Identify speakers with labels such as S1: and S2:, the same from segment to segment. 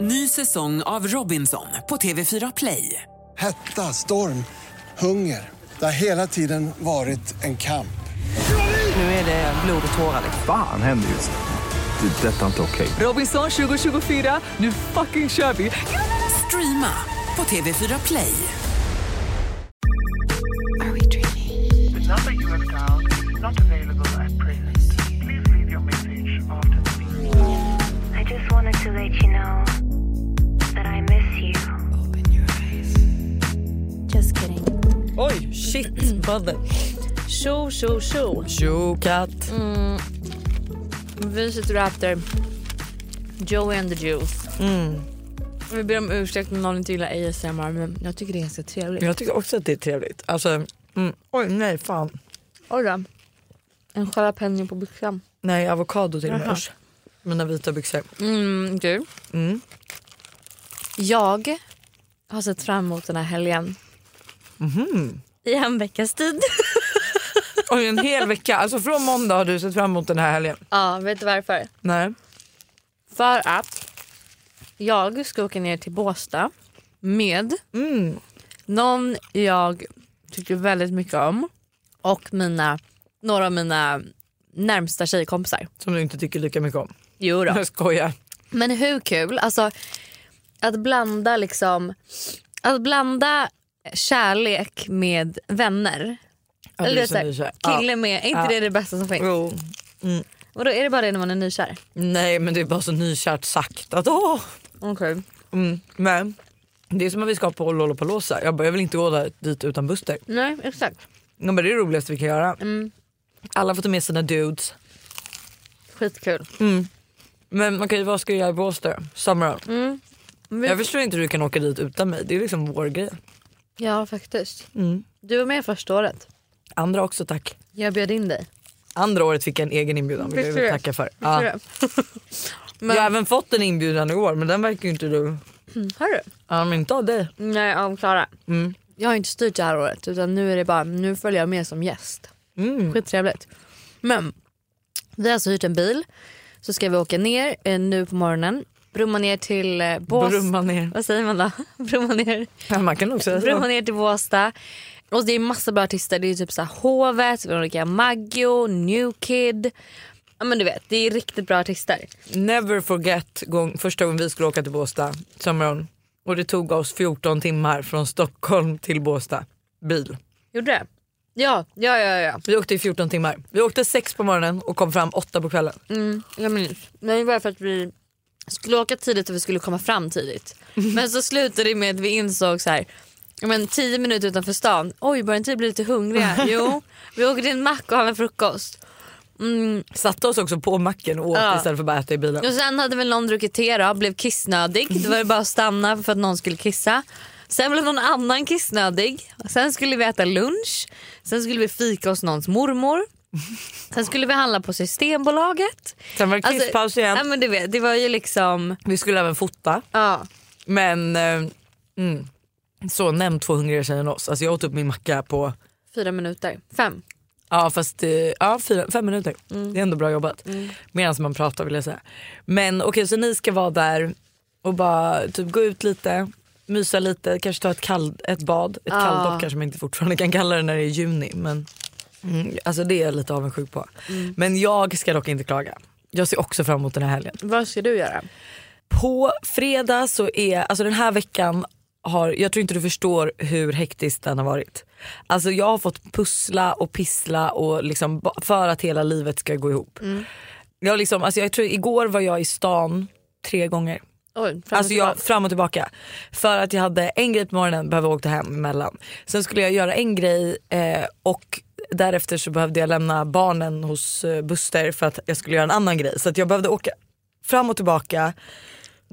S1: Ny säsong av Robinson på TV4 Play.
S2: Hetta, storm, hunger. Det har hela tiden varit en kamp.
S1: Nu är det blod och tårar. liksom.
S3: Fan händer just nu. Det. är Detta är inte okej.
S1: Robinson 2024, nu fucking kör vi! Streama på TV4 Play.
S4: The number you have dialed is not available at present. Please leave your message after the beep.
S5: I just wanted to let you know that I miss you. Just kidding.
S6: Oj, shit, podden.
S7: Tjo, tjo, tjo.
S6: Tjo, katt.
S7: Vi sitter och äter Joey and the Juice.
S6: Mm.
S7: Vi ber om ursäkt om någon inte gillar ASMR men jag tycker det är ganska trevligt.
S6: Jag tycker också att det är trevligt. Alltså, mm, oj, nej, fan.
S7: Oj då. En jalapeno på byxan.
S6: Nej, avokado till och med.
S7: Jaha.
S6: Usch. Mina vita byxor.
S7: Mm, du.
S6: Mm.
S7: Jag har sett fram emot den här helgen.
S6: Mhm.
S7: I en veckas tid.
S6: Oj, en hel vecka. Alltså från måndag har du sett fram emot den här helgen.
S7: ja, vet du varför?
S6: Nej.
S7: För att jag ska åka ner till Båstad med
S6: Mm.
S7: någon jag tycker väldigt mycket om och mina, några av mina närmsta tjejkompisar.
S6: Som du inte tycker lika mycket om.
S7: Jo då.
S6: Jag skojar.
S7: Men hur kul? Alltså, att blanda liksom... Att blanda kärlek med vänner.
S6: Ja,
S7: Eller
S6: du
S7: vet
S6: som är
S7: så här,
S6: så här,
S7: kille med, är inte
S6: Ja.
S7: det det bästa som finns?
S6: Jo.
S7: Och då är det bara det när man är nykär?
S6: Nej, men det är bara så nykärt sagt. Att, åh.
S7: Okej.
S6: Mm. Men det är som att vi ska på Lollapalooza. Jag bara, jag vill inte gå där, dit utan Buster.
S7: Nej, exakt.
S6: De bara, det är det roligaste vi kan göra. Alla får ta med sina dudes.
S7: Skitkul.
S6: Men okej, vad ska jag göra i Båstad? Summer Out.
S7: Mm. Men vi-
S6: Jag förstår inte hur du kan åka dit utan mig. Det är liksom vår grej.
S7: Ja, faktiskt.
S6: Mm.
S7: Du var med första året.
S6: Andra också tack.
S7: Jag bjöd in dig.
S6: Andra året fick jag en egen inbjudan vilket jag
S7: Visste
S6: vill
S7: du?
S6: tacka för.
S7: Tror
S6: Ja.
S7: du?
S6: Jag har även fått en inbjudan i år men den verkar ju inte du...
S7: Har du?
S6: Ja men inte av dig.
S7: Nej, om Klara.
S6: Mm.
S7: Jag har inte styrt det här året utan nu är det bara, nu följer jag med som gäst.
S6: Mm.
S7: Skittrevligt. Men vi har alltså hyrt en bil, så ska vi åka ner eh, nu på morgonen. Brumma ner till eh, Bås...
S6: Brumma ner.
S7: Vad säger man då? Brumma ner,
S6: Ja, man kan nog säga
S7: brumma
S6: så.
S7: ner till Båstad. Och det är massa bra artister. Det är typ så här Hovet, Veronica Maggio, New Kid. Ja men du vet, det är riktigt bra artister.
S6: Never forget gång, första gången vi skulle åka till Båstad. Summer On. Och det tog oss 14 timmar från Stockholm till Båstad. Bil.
S7: Gjorde det? Ja, ja, ja, ja.
S6: Vi åkte i 14 timmar. Vi åkte 6 på morgonen och kom fram 8 på kvällen.
S7: Mm, jag minns. Men det var för att vi skulle åka tidigt och vi skulle komma fram tidigt. Men så slutade det med att vi insåg så här, ja, men tio minuter utanför stan, oj börjar inte vi bli lite hungriga? Jo, vi åker till en mack och har en frukost. Mm.
S6: Satte oss också på macken och åt
S7: Ja.
S6: istället för att bara äta i bilen.
S7: Och sen hade väl någon druckit te då, blev kissnödig. Då var det bara att stanna för att någon skulle kissa. Sen blev någon annan kissnödig. Sen skulle vi äta lunch. Sen skulle vi fika hos någons mormor. Sen skulle vi handla på Systembolaget.
S6: Sen var det
S7: Alltså,
S6: kisspaus igen.
S7: Ja, men du vet, det var ju liksom...
S6: Vi skulle även fota.
S7: Ja.
S6: Men eh, mm, så nämn två hungriga tjejer än oss. Alltså jag åt upp min macka på
S7: Fyra minuter. Fem.
S6: ja, fast, eh, ja, fyra, fem minuter. Det är ändå bra jobbat. Medan man pratar vill jag säga. Men okej så ni ska vara där och bara typ gå ut lite. Mysa lite, kanske ta ett, kall, ett bad. Ett
S7: Ja.
S6: kalldopp kanske man inte fortfarande kan kalla det när det är juni. Men mm, alltså det är jag lite avundsjuk på. Men jag ska dock inte klaga. Jag ser också fram emot den här helgen.
S7: Vad ska du göra?
S6: På fredag så är, alltså den här veckan har, jag tror inte du förstår hur hektisk den har varit. Alltså jag har fått pussla och pissla och liksom ba- för att hela livet ska gå ihop. Jag, liksom, alltså jag tror igår var jag i stan tre gånger.
S7: Oj,
S6: Alltså jag, fram och tillbaka. För att jag hade en grej på morgonen, behövde åka hem emellan. Sen skulle jag göra en grej eh, och därefter så behövde jag lämna barnen hos eh, Buster för att jag skulle göra en annan grej. Så att jag behövde åka fram och tillbaka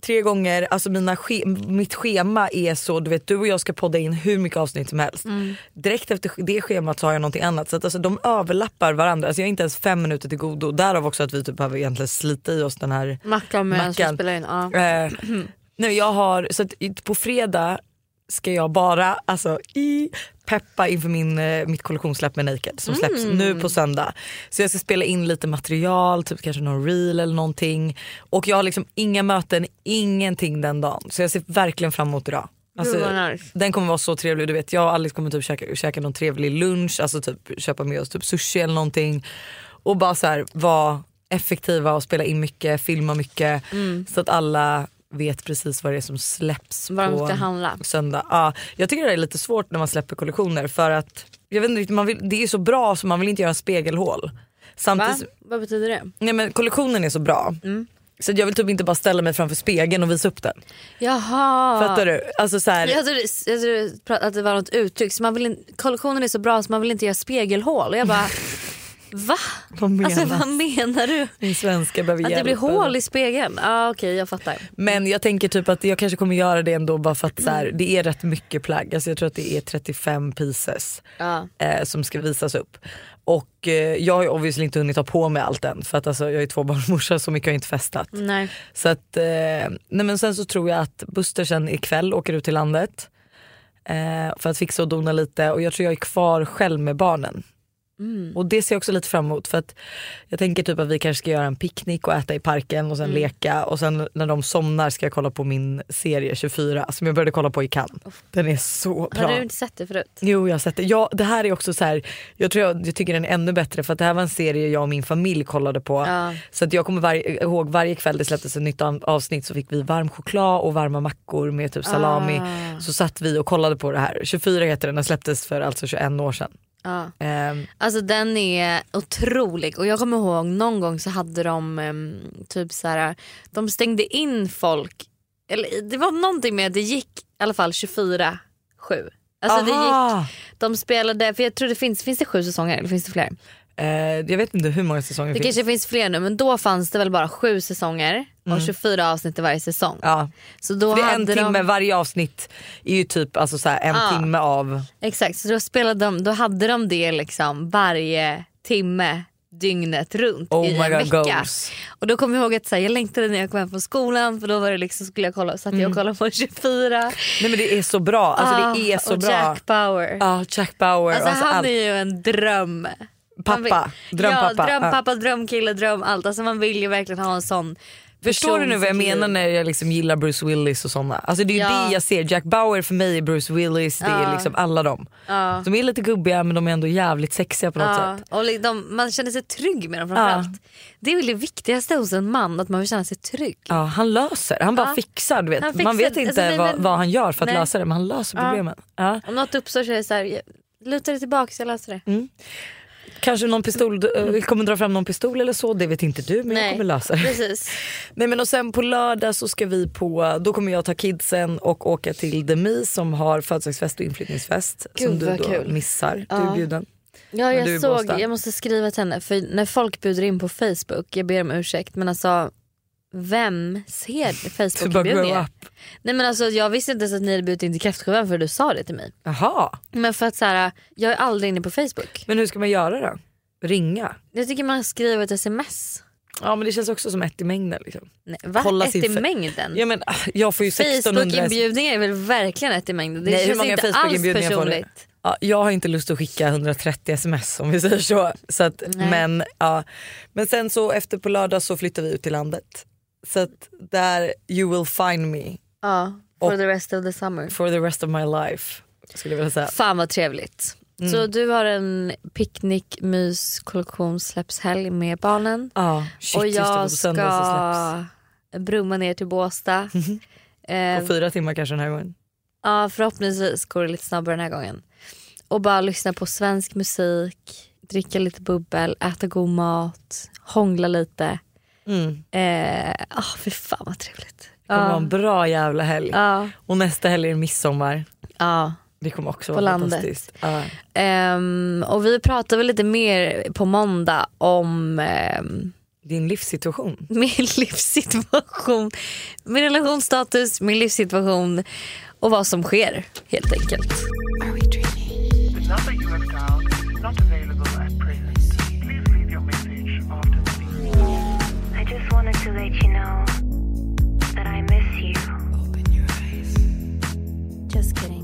S6: tre gånger. Alltså mina ske- mitt schema är så, du vet du och jag ska podda in hur mycket avsnitt som helst. Direkt efter det schemat så har jag någonting annat. Så att alltså, de överlappar varandra. Alltså jag är inte ens fem minuter till godo. Därav också att vi typ behöver egentligen slita i oss den här
S7: Mackan med en som
S6: Mackan.
S7: spelar in. Ja.
S6: Eh, nej, jag har, så att i- på fredag ska jag bara alltså, i peppa inför min, eh, mitt kollektionssläpp med Naked som släpps
S7: Mm.
S6: nu på söndag. Så jag ska spela in lite material, typ kanske någon reel eller någonting. Och jag har liksom inga möten, ingenting den dagen. Så jag ser verkligen fram emot idag. Alltså,
S7: Gud, vad nice.
S6: den kommer vara så trevlig. Du vet, jag och Alice kommer typ käka, käka någon trevlig lunch, alltså typ köpa med oss typ sushi eller någonting. Och bara så här, vara effektiva och spela in mycket, filma mycket.
S7: Mm.
S6: Så att alla vet precis vad det är som släpps
S7: Vad de
S6: på
S7: ska handla.
S6: söndag. Ja, jag tycker det är lite svårt när man släpper kollektioner för att jag vet inte, riktigt, man vill, det är så bra så man vill inte göra spegelhål.
S7: Va? Mm.
S6: Samtidigt,
S7: Vad betyder det?
S6: nej men kollektionen är så bra. Så jag vill typ inte bara ställa mig framför spegeln och visa upp den.
S7: Jaha.
S6: Fattar du? Alltså så här,
S7: Jag trodde, jag trodde pra- att det var något uttryck. Så man vill in, kollektionen är så bra så man vill inte göra spegelhål. Och jag bara, va?
S6: vad menas?
S7: Alltså, vad menar du?
S6: Min svenska behöver
S7: Att
S6: hjälp.
S7: det blir hål i spegeln? ah, Okej, jag fattar.
S6: Men jag tänker typ att jag kanske kommer göra det ändå bara för att så här, det är rätt mycket plagg. Alltså jag tror att det är 35 pieces
S7: Ja.
S6: eh, som ska visas upp. Och eh, jag har ju obviously inte hunnit ta på mig allt än för att alltså, jag är tvåbarnsmorsa så mycket har jag inte festat.
S7: Nej.
S6: Så att, eh, nej men sen så tror jag att Buster sen ikväll åker ut till landet eh, för att fixa och dona lite och jag tror jag är kvar själv med barnen.
S7: Mm.
S6: Och det ser jag också lite fram emot för att jag tänker typ att vi kanske ska göra en picknick och äta i parken
S7: Mm.
S6: och sen leka och sen när de somnar ska jag kolla på min serie 24 som jag började kolla på i Cannes. Den är så bra.
S7: Har du inte sett det förut?
S6: Jo jag har sett det. Ja, det här är också så här, jag tror jag, jag tycker den är ännu bättre för att det här var en serie jag och min familj kollade på.
S7: Ja.
S6: Så att jag kommer varje, ihåg varje kväll det släpptes ett nytt an- avsnitt så fick vi varm choklad och varma mackor med typ salami.
S7: Ah.
S6: Så satt vi och kollade på det här. 24 heter den, den släpptes för alltså 21 år sedan.
S7: Ja.
S6: Ehm,
S7: Alltså den är otrolig och jag kommer ihåg någon gång så hade de em, typ så här, de stängde in folk. Eller det var någonting med att det gick i alla fall 24-7. Alltså det gick,
S6: aha!
S7: de spelade, för jag tror det finns, finns det sju säsonger eller finns det fler?
S6: Eh, jag vet inte hur många säsonger
S7: Det
S6: det finns.
S7: kanske finns fler nu men då fanns det väl bara sju säsonger och 24 avsnitt i varje säsong.
S6: Mm. Ja.
S7: Så då
S6: Det är en
S7: hade de,
S6: timme, varje avsnitt är ju typ alltså så här, en
S7: Ah.
S6: timme av
S7: Exakt, så då, spelade de, då hade de det liksom varje timme dygnet runt
S6: Oh
S7: i
S6: my
S7: en
S6: God,
S7: vecka.
S6: goals.
S7: Och då kommer jag ihåg att så här, jag längtade när jag kom hem från skolan för då var det liksom, skulle jag kolla, satt jag och kollade på 24.
S6: Nej men det är så bra, Mm. alltså
S7: Ah,
S6: det är så
S7: och
S6: bra.
S7: Jack Bauer.
S6: Ja, Jack Bauer.
S7: Alltså,
S6: alltså,
S7: han
S6: allt.
S7: är ju en dröm. Man vill-
S6: Pappa, drömpappa.
S7: Ja,
S6: ja.
S7: drömpappa, drömkille, dröm allt. Alltså man vill ju verkligen ha en sån
S6: Förstår du nu vad jag
S7: person i sitt
S6: menar
S7: liv.
S6: när jag liksom gillar Bruce Willis och sådana? Alltså det är ju
S7: Ja.
S6: det jag ser, Jack Bauer för mig är Bruce Willis, det är
S7: Ja.
S6: liksom alla dem. De är lite gubbiga men de är ändå jävligt sexiga på något
S7: Ja,
S6: sätt.
S7: och li- de, man känner sig trygg med dem framförallt. Det är väl det viktigaste hos en man, att man vill känna sig trygg.
S6: Ja, han löser, han bara
S7: Ja.
S6: fixar du vet.
S7: Han fixar-
S6: Man vet inte
S7: alltså, nej,
S6: vad,
S7: men-
S6: vad han gör för att
S7: nej.
S6: lösa det men han löser problemen. Ja.
S7: Om något uppstår så är det så här, jag- luta dig tillbaka så jag löser det.
S6: Kanske någon pistol, eh, kommer dra fram någon pistol eller så, det vet inte du men jag
S7: Mm. Nej.
S6: kommer lösa det.
S7: Precis.
S6: Nej men och sen på lördag så ska vi på, då kommer jag ta kidsen och åka till Demi som har födelsedagsfest och inflyttningsfest
S7: Gud,
S6: som du
S7: vad
S6: då
S7: kul.
S6: missar. Du är
S7: Ja.
S6: bjuden.
S7: Ja,
S6: du är
S7: jag såg
S6: Båstad.
S7: det. Jag måste skriva till henne. För när folk bjuder in på Facebook, jag ber om ursäkt men alltså vem ser
S6: Du bara grow
S7: Facebook-inbjudningar?
S6: up.
S7: Nej men alltså jag visste inte ens att ni hade bjudit in till kräftskivan för du sa det till mig.
S6: Jaha,
S7: Men för att så här, jag är aldrig inne på Facebook.
S6: men hur ska man göra då? Ringa?
S7: Jag tycker man skriver ett sms.
S6: Ja men det känns också som ett i mängden. Liksom.
S7: Nej, va?
S6: Kolla
S7: ett
S6: sin
S7: i
S6: fe-
S7: mängden?
S6: Ja, men, ah, jag får ju 1600...
S7: Facebook-inbjudningar är väl verkligen ett i mängden? Det
S6: Nej, hur
S7: känns
S6: många
S7: inte alls
S6: Facebook-inbjudningar får du?
S7: personligt.
S6: Ja, jag har inte lust att skicka 130 sms om vi säger så. så att, men, ja. men sen så efter på lördag så flyttar vi ut till landet. Så att där you will find me
S7: Ja, for
S6: Och-
S7: the rest of the summer.
S6: for the rest of my life. Skulle jag vilja säga.
S7: Fan vad trevligt.
S6: Mm.
S7: Så du har en picknick, mys, kollektion, släppshelg med barnen.
S6: Ja, shit,
S7: och
S6: just det, på
S7: jag
S6: söndag så släpps.
S7: ska brumma ner till Båstad. eh,
S6: På fyra timmar kanske den här gången.
S7: ja, förhoppningsvis går det lite snabbare den här gången. Och bara lyssna på svensk musik, dricka lite bubbel, äta god mat, hångla lite.
S6: Mm.
S7: Eh, ah, fy fan vad trevligt.
S6: Det kommer
S7: Ja.
S6: vara en bra jävla helg.
S7: Ja,
S6: Och nästa helg är det midsommar.
S7: ja.
S6: Det kommer också
S7: På
S6: vara
S7: landet.
S6: fantastiskt. Ja.
S7: Ehm, och vi pratar väl lite mer på måndag om ehm,
S6: Din livssituation.
S7: min livssituation, min relationsstatus, min livssituation och vad som sker helt enkelt.
S4: The number you have dialed is not available at present. Please leave your message after the beep.
S5: I just wanted to let you know that I miss you. Just kidding.